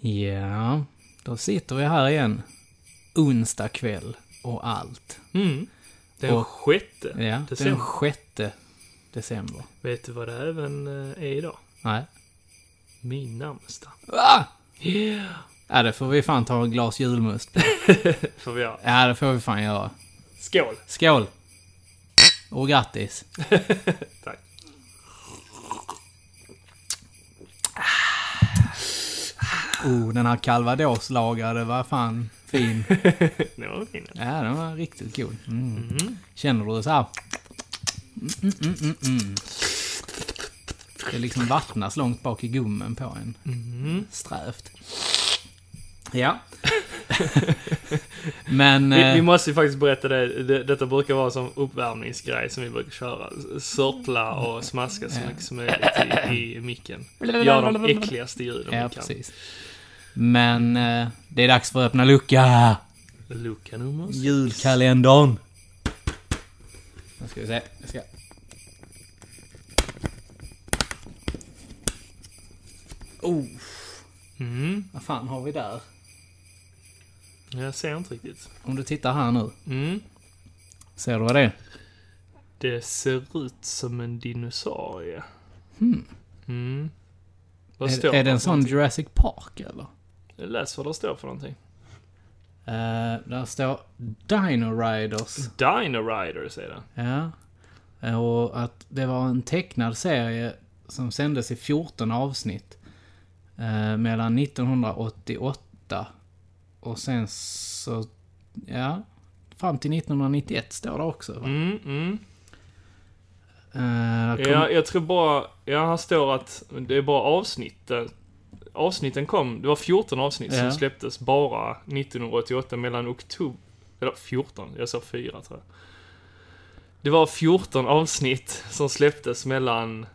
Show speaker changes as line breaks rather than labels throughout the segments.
Ja, då sitter vi här igen. Onsdag kväll och allt.
Mm. Den
Och-
sjätte
Ja, den
december.
sjätte december.
Vet du vad det även eh, är idag?
Nej.
Min namnsdag.
Ah!
Yeah.
Ja, det får vi fan ta en glas julmust på.
Får vi göra.
Ja, det får vi fan göra.
Skål!
Skål! Och grattis!
Tack.
Ah. Oh, den här calvadoslagrade var fan fin.
Nu var det fint.
Ja, den var riktigt god. Mm. Känner du det så här? Mm, mm, mm, mm, mm. Det liksom vattnas långt bak i gummen på en. Mm. Strävt. Ja. Men...
Vi, vi
eh,
måste ju faktiskt berätta det. det. Detta brukar vara som uppvärmningsgrej som vi brukar köra. S- Sörpla och smaska så mycket som möjligt i, i micken. Gör de äckligaste ljuden
Ja,
vi kan.
precis. Men eh, det är dags för att öppna lucka!
Lucka nummer sex.
Julkalendern! Nu ska vi se. Jag ska... Oh,
Mm.
vad fan har vi där?
Jag ser inte riktigt.
Om du tittar här nu.
Mm.
Ser du vad det är?
Det ser ut som en dinosaurie. Mm. Vad
Är,
står
är det en
för
sån Jurassic Park eller?
någonting? Läs vad det står för någonting.
Eh, där står Dino Riders.
Dino Riders är det.
Ja. Eh, Och att det var en tecknad serie som sändes i 14 avsnitt. Eh, mellan 1988 och sen så... Ja. Fram till 1991 står det också. Va?
Mm, mm.
Eh, kom,
Ja, jag tror bara... Ja, här står att det är bara avsnitt. eh, Avsnitten kom... Det var 14 avsnitt
Ja.
som släpptes bara 1988 mellan oktober... Eller 14, jag sa 4 tror jag. Det var 14 avsnitt som släpptes mellan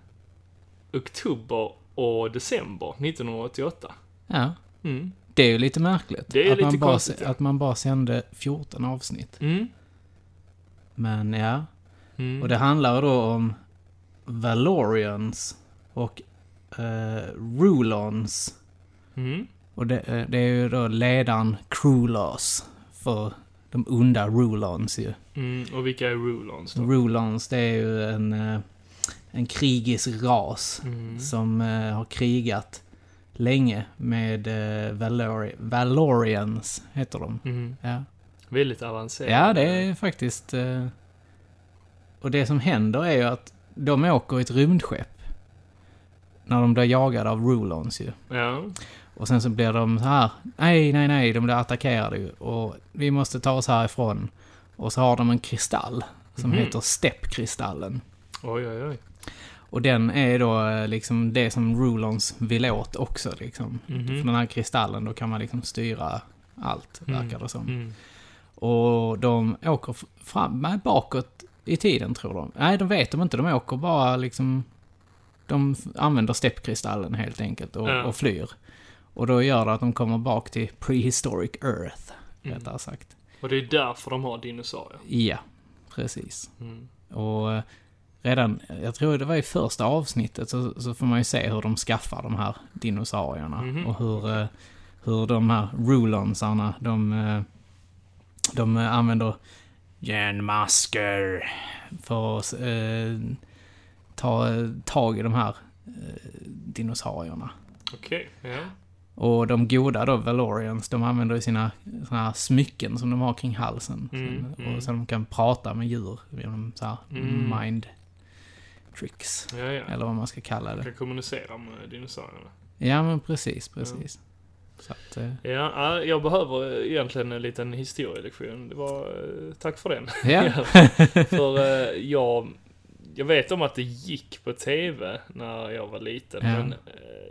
oktober och december 1988.
ja.
Mm.
Det är ju lite märkligt.
Det är
att, man
lite
bara,
konstigt,
se-
ja.
att man bara sände 14 avsnitt.
Mm.
Men ja.
Mm.
Och det handlar ju då om Valorians och eh, Rulons.
Mm.
Och det, eh, det är ju då ledaren Krulos för de onda Rulons ju.
Mm. Och vilka är Rulons då?
Rulons det är ju en, eh, en krigisk ras
Mm.
som eh, har krigat länge med eh, Valori- Valorians, heter de.
Mm.
Ja,
Väldigt avancerade.
ja det är faktiskt... eh, Och det som händer är ju att de åker i ett rymdskepp. När de blir jagade av Rulons ju.
Ja.
Och sen så blir de så här, nej, nej, nej, de blir attackerade ju. Och vi måste ta oss härifrån. Och så har de en kristall som
Mhm.
heter steppkristallen.
Oj, oj, oj.
Och den är då eh, liksom det som Rulons vill åt också liksom. För
Mhm.
den här kristallen, då kan man liksom styra allt,
Mm.
verkar det som.
Mm.
Och de åker f- fram, nej, bakåt i tiden tror de. Nej, de vet de inte, de åker bara liksom... De f- använder steppkristallen helt enkelt och,
Ja.
och flyr. Och då gör det att de kommer bak till prehistoric earth,
Mm.
rättare sagt.
Och det är därför de har dinosaurier.
Ja, precis.
Mm.
Och eh, redan, jag tror det var i första avsnittet, så, så får man ju se hur de skaffar de här dinosaurierna.
Mhm.
Och hur, eh, hur de här rulonsarna, de, eh, de eh, använder järnmasker för att eh, ta eh, tag i de här eh, dinosaurierna.
Okej, ja.
Och de goda då, Valorians, de använder ju sina såna här smycken som de har kring halsen.
Mm,
så,
mm.
och så de kan prata med djur genom så här
Mm.
mind tricks.
Ja, ja.
Eller vad man ska kalla det.
Kan kommunicera med dinosaurierna.
Ja men precis, precis. Så att, eh,
Ja, ja, jag behöver eh, egentligen en liten historielektion. Det var... eh, Tack för den.
ja.
för eh, jag... Jag vet om att det gick på TV när jag var liten,
Ja.
men eh,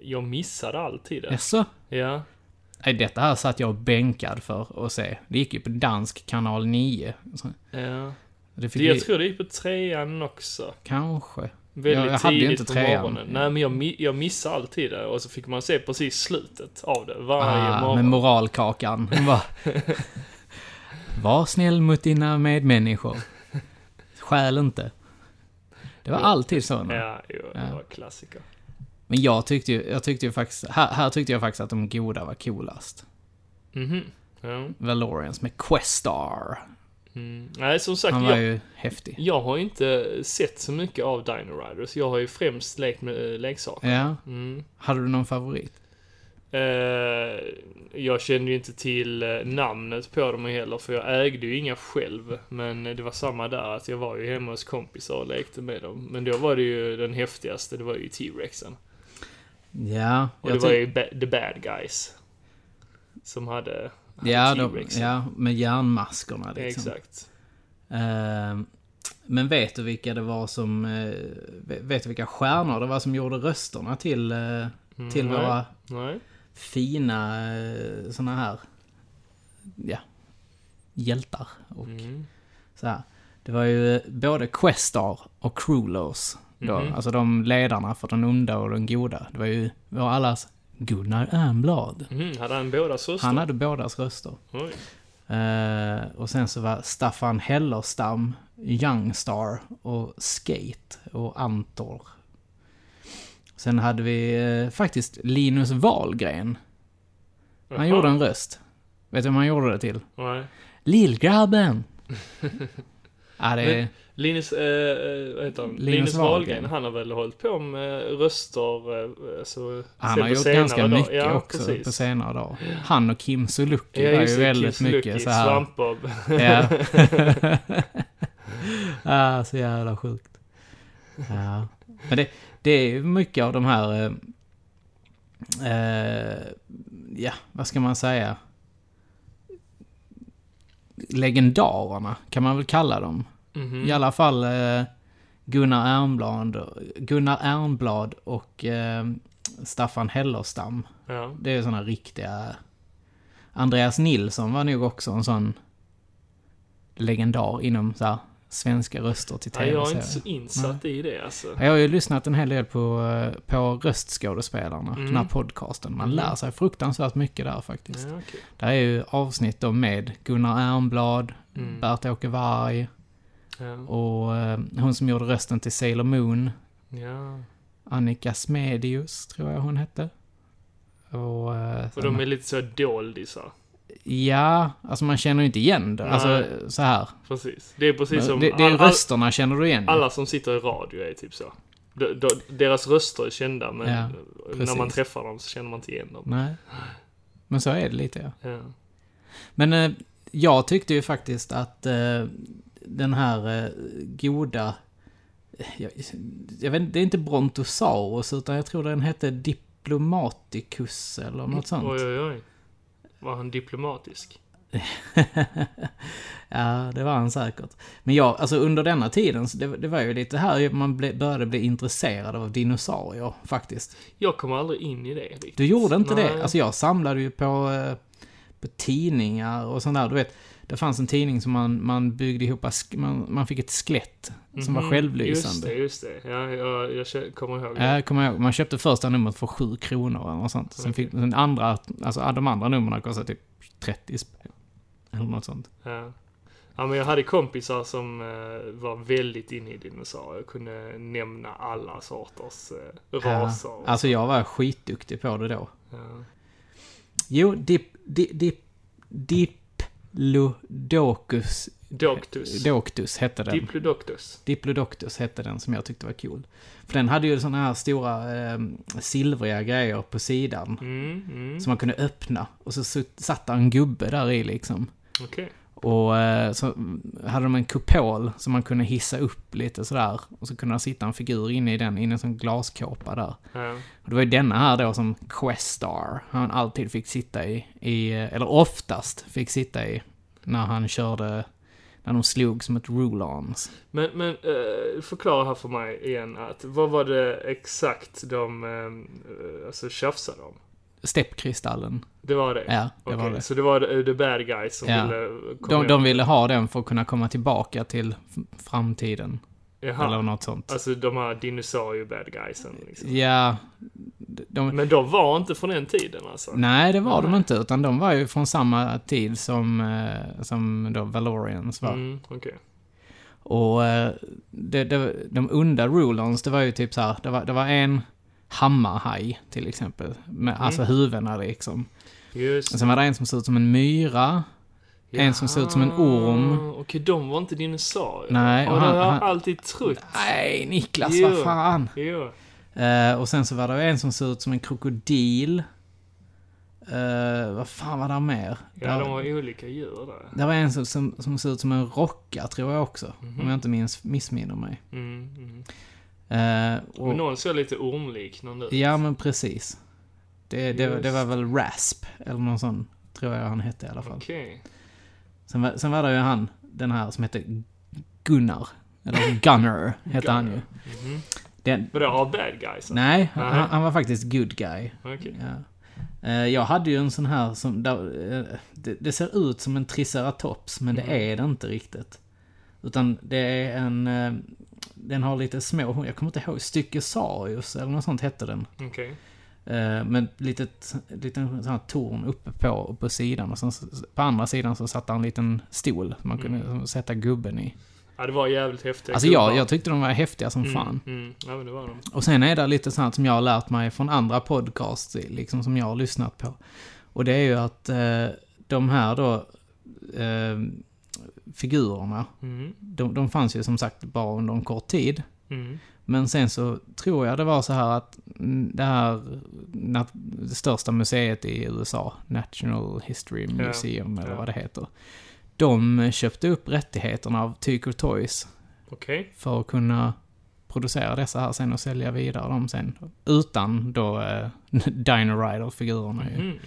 jag missade alltid det.
Jaså?
Ja.
Nej, detta här satt jag bänkad för att se. Det gick ju på dansk kanal 9. Så
ja.
Det fick
Det, jag
vi,
tror det gick på trean också.
kanske.
Väldigt
Jag- jag hade ju
tidigt
inte
på
trean.
morgonen. Nej, men jag, mi- jag missade alltid det. Och så fick man se precis slutet av det varje
Ah,
morgon.
med moralkakan. Hon bara, Var snäll mot dina medmänniskor. Stjäl inte. Det var alltid så. nu.
Ja, jo, det
Ja.
var klassiker.
Men jag tyckte ju, jag tyckte ju faktiskt, här, här tyckte jag faktiskt att de goda var coolast.
Mhm. Ja.
Valorians med Questar.
Mm. Nej, som sagt,
Han var
jag,
ju häftig.
jag har inte sett så mycket av Dino Riders. Jag har ju främst lekt med äh, leksaker.
Ja.
Mm.
Hade du någon favorit?
Eh, jag kände ju inte till eh, namnet på dem heller, för jag ägde ju inga själv. Men det var samma där, att jag var ju hemma hos kompisar och lekte med dem. Men då var det ju den häftigaste, det var ju T-Rexen.
Ja,
Och
jag
det var
tyck-
ju ba- The Bad Guys. Som hade, hade
ja, de,
T-Rexen.
ja, med järnmaskerna liksom.
Exakt.
Eh, men vet du vilka det var som... eh, ve- vet du vilka stjärnor det var som gjorde rösterna till, eh, till
Mm, nej.
våra
Nej.
fina eh, såna här... Ja. Hjältar och
Mm.
så här. Det var ju eh, både Questar och Crulos. Då,
Mhm.
Alltså de ledarna för den onda och den goda. Det var ju vår allas Gunnar Ernblad.
Mm, hade han båda systrar?
Han hade bådas röster.
Oj.
Eh, och sen så var Staffan Hellerstam, Youngstar och Skate och Antor. Sen hade vi eh, faktiskt Linus Wahlgren. Han
Jaha.
gjorde en röst. Vet du vem han gjorde det till?
Nej.
Lillgrabben! ja, det är...
Linus, eh, eh, vad heter han?
Linus
Linus,
Wahlgren.
Wahlgren. han har väl hållit på med röster, eh, alltså,
Han
sen
har
på
gjort
senare
ganska
dag.
mycket
ja,
också
precis.
på senare dagar. Han och Kim Sulocki
Ja,
var
just
ju
det,
väldigt
Kiss
mycket
Lucky,
så här...
Svampbob.
Ja. ah, så jävla sjukt. Ja. Men det, det är ju mycket av de här... eh, Eh, ja, vad ska man säga? Legendarerna kan man väl kalla dem.
Mhm.
I alla fall eh, Gunnar Ernblad, Gunnar Ernblad och eh, Staffan Hellerstam.
Ja.
Det är sådana riktiga... Andreas Nilsson var nog också en sån legendar inom så här, svenska röster till
Ja, jag är inte
tv-serier.
så insatt i det alltså.
Jag har ju lyssnat en hel del på, eh, på röstskådespelarna,
Mm.
den här podcasten. Man lär sig fruktansvärt mycket där faktiskt.
Ja, okej.
Där är ju avsnitt då med Gunnar Ernblad,
Mm.
Bert-Åke Varg
Ja.
och eh, hon som gjorde rösten till Sailor Moon,
ja.
Annika Smedius tror jag hon hette. Och, eh,
Och
sen-
de är lite så doldisar.
Ja, alltså man känner ju inte igen det.
Nej.
Alltså så här.
Precis. Det är precis som...
det, det är
all- all-
rösterna känner du igen.
alla som sitter i radio är typ så. De, de, deras röster är kända, men
Ja,
när man
precis.
träffar dem så känner man inte igen dem.
Nej. Men så är det lite ja.
Ja.
Men eh, jag tyckte ju faktiskt att eh, den här eh, goda... eh, Jag, jag vet inte, det är inte Brontosaurus utan jag tror den hette Diplomaticus eller något sånt.
Oj, oj, oj. Var han diplomatisk?
ja, det var han säkert. Men jag, alltså under denna tiden, så det, det var ju lite här man ble, började bli intresserad av dinosaurier faktiskt.
Jag kom aldrig in i det riktigt.
Du gjorde inte
Nej.
det? Alltså jag samlade ju på, eh, på tidningar och sånt där. Du vet, det fanns en tidning som man, man byggde ihop, sk- man, man fick ett skelett som var
Mhm, Just det,
självlysande.
just det. Ja, jag, jag kä- kommer ihåg det.
Ja, jag kommer ihåg. Man köpte första numret för 7 kronor eller något sånt. Sen fick den andra, alltså de andra numren kostade typ 30 spänn. Eller något sånt.
Ja. ja, men jag hade kompisar som eh, var väldigt inne i dinosaurier. Kunde nämna alla sorters eh, raser.
Ja. Alltså jag var skitduktig på det då.
Ja.
Jo, dip, dip, dip, diplodocus
Doctus.
doctus hette den.
Diplodoctus.
Diplodoctus hette den som jag tyckte var cool. För den hade ju såna här stora eh, silvriga grejer på sidan.
Mm, mm.
Som man kunde öppna. Och så sut- satt där en gubbe där i liksom.
Okej.
Och eh, så hade de en kupol som man kunde hissa upp lite sådär. Och så kunde det sitta en figur inne i den, inne i en sån glaskåpa där.
Ja.
Och det var ju denna här då som Questar, han alltid fick sitta i, i, eh, eller oftast fick sitta i, när han körde, när de slog som ett roll-ons.
Men, men eh, förklara här för mig igen att vad var det exakt de eh, alltså tjafsade om?
Steppkristallen.
Det var det?
Ja, det var
Okej,
det.
Så det var eh, the bad guys som
Ja.
ville eh, komma
De,
åt-
de ville ha den för att kunna komma tillbaka till f- framtiden.
Jaha.
Eller något sånt.
Alltså de här dinosaurie bad guysen liksom.
Ja. De,
Men de var inte från den tiden alltså?
nej, det var de inte. Utan de var ju från samma tid som, eh, som då Valorians var.
Mm, okej.
Och eh, det, det, de onda rulons, det var ju typ så här. Det var, det var en... hammarhaj till exempel. Med,
Mm.
Alltså huvudena liksom.
Just
Och sen var det en som såg ut som en myra. Alltså, en som ser ut som en orm.
Jaha, Ah, Okej, de var inte dinosaurier.
Nej,
och
och han-
det har jag
han-
alltid trott.
Nej, Niklas,
Jo.
vad fan!
Jo.
Eh, och sen så var det en som såg ut som en krokodil. Eh, vad fan var det mer?
Ja,
det,
de var olika djur där.
det var en som, som, som såg ut som en rocka, tror jag också.
Mhm.
Om jag inte minns, missminner mig.
Mm, mm.
Eh, och,
Men någon såg lite ormliknande ut.
ja, men precis. Det, det, det
Just.
var väl Rasp, eller någon sån, tror jag han hette i alla fall.
Okej.
Sen, var- sen var det ju han, den här som hette Gunnar. Eller Gunner, hette han ju.
Mhm.
Den,
Men det har bad guys?
nej,
Nej.
han, han var faktiskt good guy.
Okej.
Ja. Eh, Jag hade ju en sån här som, där, eh, det, det ser ut som en triceratops men det
Mm.
är det inte riktigt. Utan det är en, eh, den har lite små, jag kommer inte ihåg, styckosarius eller något sånt hette den.
Okej.
Eh, Men litet, liten sån här torn uppe på, och på sidan och sen s- på andra sidan så satt där en liten stol som man kunde sätta gubben i.
Ja, Mm. det var jävligt häftigt.
Alltså jag, jag tyckte de var häftiga som fan.
Mm. Ja, men det var de.
Och sen är det lite sånt som jag har lärt mig från andra podcasts, liksom som jag har lyssnat på. Och det är ju att eh, de här då eh, figurerna,
Mm.
de, de fanns ju som sagt bara under en kort tid.
Mm.
Men sen så tror jag det var så här att mm, det här nat- det största museet i USA, National History
Ja,
Museum eller
ja.
vad det heter. De köpte upp rättigheterna av Tyker Toys
Okej.
för att kunna producera dessa här sen och sälja vidare dem sen. Utan då eh, Dino Rider-figurerna ju.
Mm.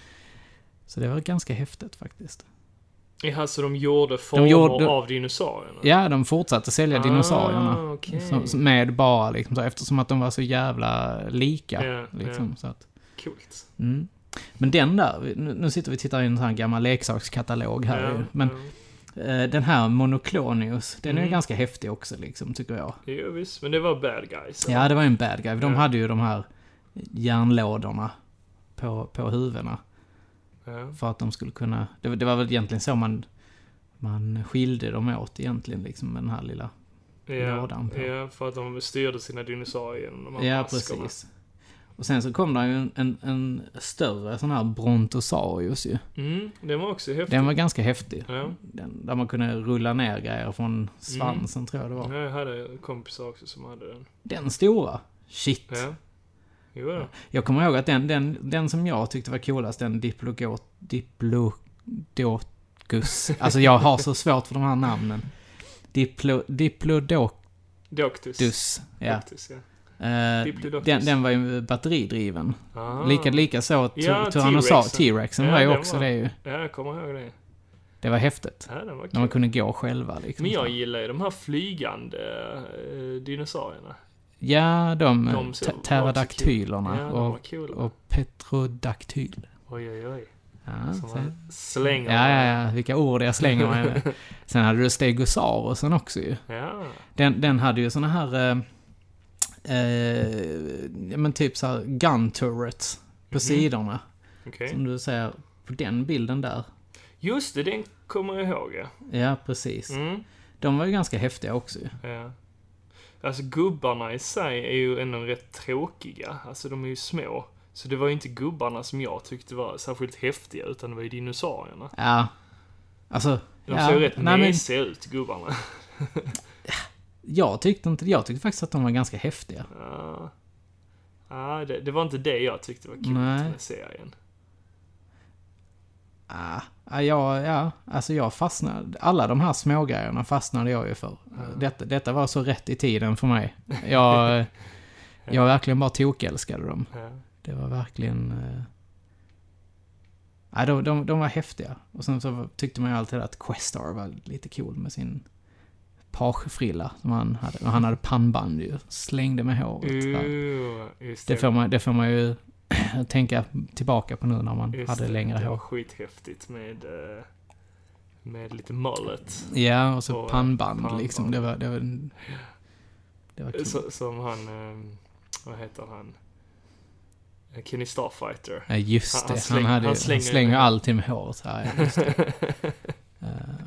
Så det var ganska häftigt faktiskt.
Jaha, så de gjorde former
gjorde-
av dinosaurierna?
Ja, de fortsatte sälja dinosaurierna.
Ah, okej.
Så- så Med bara liksom, så, eftersom att de var så jävla lika.
Ja,
liksom, Så att,
Coolt.
mm. Men den där, vi- nu nu sitter vi och tittar i en sån här gammal leksakskatalog här ju. Men eh, den här Monoclonius, den är
Mm.
ganska häftig också liksom, tycker jag.
ja. Jo, visst. Men det var bad guys.
Ja, det var ju en bad guy. De
Ja.
hade ju de här järnlådorna på, på huvudena.
Ja.
För att de skulle kunna... Det, var- det var väl egentligen så man, man skilde dem åt egentligen, liksom med den här lilla... Lådan på.
Ja, ja, för att de styrde sina dinosaurier genom de här
ja,
maskerna.
precis. Och sen så kom det ju en, en, en större sån här Brontosaurus ju.
Mm, den var också häftig.
Den var ganska häftig.
Ja.
Den, där man kunde rulla ner grejer från svansen,
Mm.
tror jag det var.
Ja, jag hade kompisar också som hade den.
Den stora! Shit!
Ja. Jo, ja.
Jag kommer ihåg att den, den, den som jag tyckte var coolast, den Diplogot... Diplodocus. Alltså jag har så svårt för de här namnen. Diplo, diplodocus,
Doctus.
ja.
Doctus, ja.
Eh,
Diplodocus.
den, den var ju batteridriven.
Ah.
Lika, lika så ty-
Ja,
Tyrannosaurus,
T-rexen.
T-rexen
Ja,
var ju
den
också
var-
det ju.
Ja, jag kommer ihåg det.
Det var häftigt.
Ja, den var
När man
kul.
kunde gå själva liksom.
Men jag gillar ju de här flygande eh, dinosaurierna.
Ja, de,
De
de
ser- var så
pterodaktylerna
Ja, de var
och,
coola.
och petrodaktyl.
Oj, oj, oj.
Ja,
Som
se.
man slänger.
Ja, ja, ja. Vilka ord jag slänger mig med. Sen hade du Stegosaurusen också ju.
Ja.
Den, den hade ju såna här... Eh, eh, ja, men typ så här gun turrets på
Mhm.
sidorna.
Okej.
Som du ser på den bilden där.
Just det, den kommer jag ihåg, ja.
Ja, precis.
Mm.
De var ju ganska häftiga också ju.
Ja. Alltså gubbarna i sig är ju ändå rätt tråkiga. Alltså de är ju små. Så det var ju inte gubbarna som jag tyckte var särskilt häftiga, utan det var ju dinosaurierna.
Ja. Alltså...
De
ja.
såg rätt
Nej, men
mesiga ut, gubbarna.
jag tyckte inte Jag tyckte faktiskt att de var ganska häftiga.
Ja. Ja, det, det var inte det jag tyckte var kul
Nej.
med serien.
Ah, ah, ja, ja, alltså jag fastnade. Alla de här smågrejerna fastnade jag ju för. Eh,
Mm.
Detta, detta var så rätt i tiden för mig. Jag, eh, jag verkligen bara tokälskade dem.
Ja.
Det var verkligen... Eh, ah, de, de, de var häftiga. Och sen så tyckte man ju alltid att Questar var lite cool med sin pagefrilla som han hade. Och han hade pannband ju. Slängde med håret.
Mm.
där.
Ooh, just
Det får man, det får man ju tänka tillbaka på nu när man
Just
hade
det,
längre
Det var
hår.
skithäftigt med, eh, med lite mullet.
Ja, och så
Och, eh,
pannband
pannband.
liksom. Det var... Det var, en- det var kul.
Så, som han, eh, vad heter han? Kenny Starfighter.
Ja, just
Han-
det.
han
Han,
slänger-
hade, ju-
han
han
slänger
slänger,
ju-
alltid med håret. Ja, ja, just det. Eh,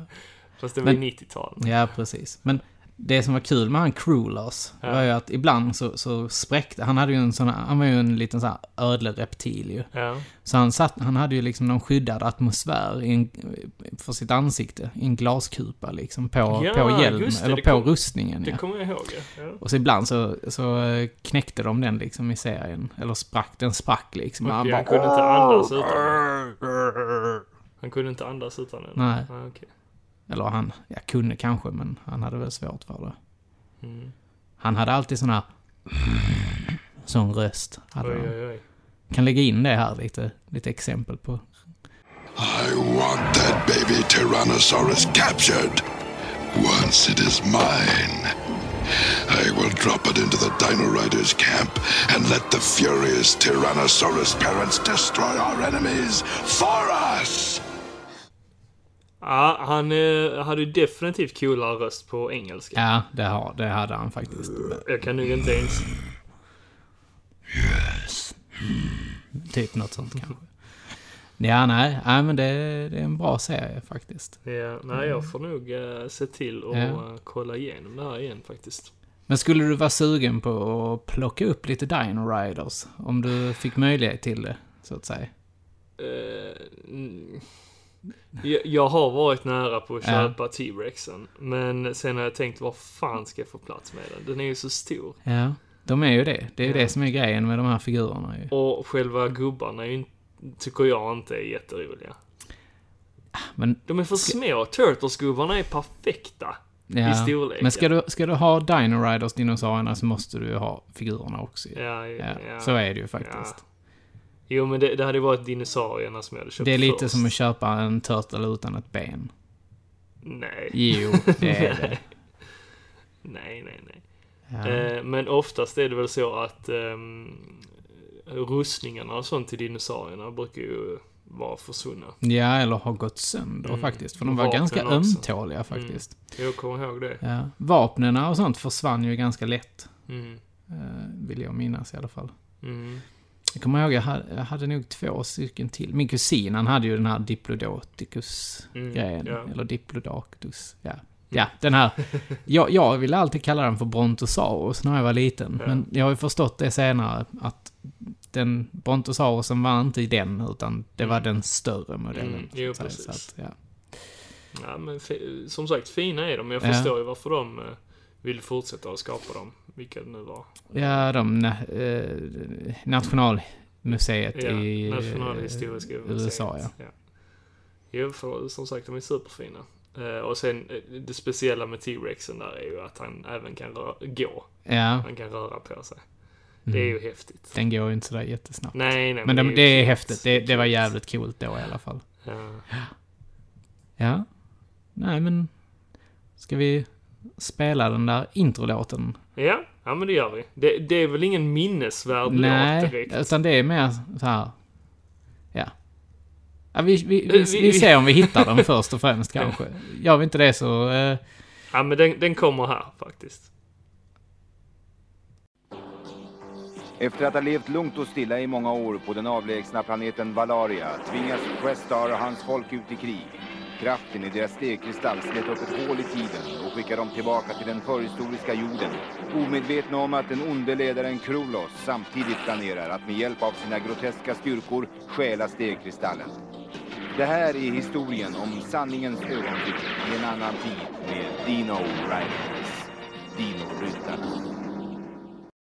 Fast det var ju
Men-
90-tal.
ja, precis. Men Det som var kul med han Krulers
Ja.
var ju att ibland så, så spräckte... Han hade ju en sån här, Han var ju en liten sån här ödlereptil ju.
Ja.
Så han, satt, han hade ju liksom någon skyddad atmosfär i en, för sitt ansikte. I en glaskupa liksom på,
Ja,
på hjälm,
just det,
eller
det
på
kom-
rustningen.
Det
Ja.
kommer jag ihåg, ja. ja.
Och så ibland så, så eh, knäckte de den liksom i serien. Eller sprack, den sprack liksom.
Okej,
Och han
han
bara,
kunde inte andas utan Han kunde inte andas utan den?
Nej.
Ah, okej.
Eller han, jag kunde kanske, men han hade väl svårt för det.
Mm.
Han hade alltid sån här... Sån röst. Hade
Oj,
han.
oj, oj.
Kan lägga in det här lite, lite exempel på.
I want that baby Tyrannosaurus captured. Once it is mine, I will drop it into the Dino Riders camp and let the furious Tyrannosaurus parents destroy our enemies for us!
Ja, han eh, hade ju definitivt coolare röst på engelska.
Ja, det, har, det hade han faktiskt.
Jag kan nog inte ens...
Typ något sånt kanske. Ja, nej, nej men det, det är en bra serie faktiskt.
Ja, nej, jag får nog eh, se till och
Ja.
eh, kolla igenom det här igen faktiskt.
Men skulle du vara sugen på att plocka upp lite Dino Riders? Om du fick möjlighet till det, så att säga.
Eh, mm. jag, jag har varit nära på att
Ja.
köpa T-Rexen, men sen har jag tänkt vad fan ska jag få plats med den? Den är ju så stor.
Ja, de är ju det. Det är ju
Ja.
det som är grejen med de här figurerna ju.
Och själva gubbarna är ju inte, tycker jag inte är jätteroliga.
Men,
De är för små. Turtles-gubbarna är perfekta.
ja.
I storleken.
men ska, du, ska du ha Dino Riders, dinosaurierna, så måste du ju ha figurerna också ju.
Ja,
Ja,
ja, ja.
så är det ju faktiskt.
Jo, men det, det hade varit dinosaurierna som jag hade köpt
Det är lite
först.
som att köpa en turtle utan ett ben.
Nej,
Jo, det är det.
nej, nej, nej.
Ja.
Eh, men oftast är det väl så att ehm, rustningarna och sånt till dinosaurierna brukar ju vara försvunna.
ja, eller har gått sönder faktiskt. För de
Mm.
var
Och vapen
ganska
också. Mm.
ömtåliga faktiskt.
Jag kommer ihåg det.
Ja. Vapnen och sånt försvann ju ganska lätt.
Mm.
eh, Vill jag minnas i alla fall.
Mm.
Jag kommer ihåg, jag hade, jag hade nog två stycken till. Min kusin, han hade ju den här Diplodocus-grejen.
Mm, ja.
Eller Diplodactus. Ja. ja, den här. Jag, jag ville alltid kalla den för Brontosaurus när jag var liten.
Ja.
Men jag har ju förstått det senare, att den Brontosaurusen var inte den, utan det var den större modellen.
Mm,
så
jo,
att säga.
precis.
Så att, ja.
Ja, men fi- som sagt, fina är de. Jag
Ja.
förstår ju varför de eh, vill fortsätta att skapa dem. Vilka det nu var.
Ja, de... na- Eh, Nationalmuseet
Ja,
i eh,
Nationalhistoriska museet.
USA, ja.
Jo, för, som sagt, de är superfina. Eh, och sen, eh, det speciella med T-Rexen där är ju att han även kan rö- gå.
Ja, mm.
Han kan röra på sig. Det är ju häftigt.
den går ju inte sådär jättesnabbt.
Nej, nej,
Men det,
ju
det är
coolt.
häftigt. Det, det var
Coolt.
jävligt coolt då i alla fall.
Ja.
Ja. Nej, men... Ska vi spela den där introlåten?
Ja, ja, men det gör vi. Det, det är väl ingen minnesvärd låt
Nej,
direkt?
utan det är mer så här... Ja. ja vi, vi, vi,
vi-
vi ser om vi hittar den först och främst kanske. Gör vi inte det så... Eh,
Ja, men den, den kommer här faktiskt.
Efter att ha levt lugnt och stilla i många år på den avlägsna planeten Valaria tvingas Questar och hans folk ut i krig. Kraften i deras stegkristall slet upp ett hål i tiden och skickar dem tillbaka till den förhistoriska jorden. Omedvetna om att den onde ledaren Krolos samtidigt planerar att med hjälp av sina groteska styrkor stjäla stegkristallen. Det här är historien om sanningens ögonblick i en annan tid med Dino Riders. Dino-ryttarna.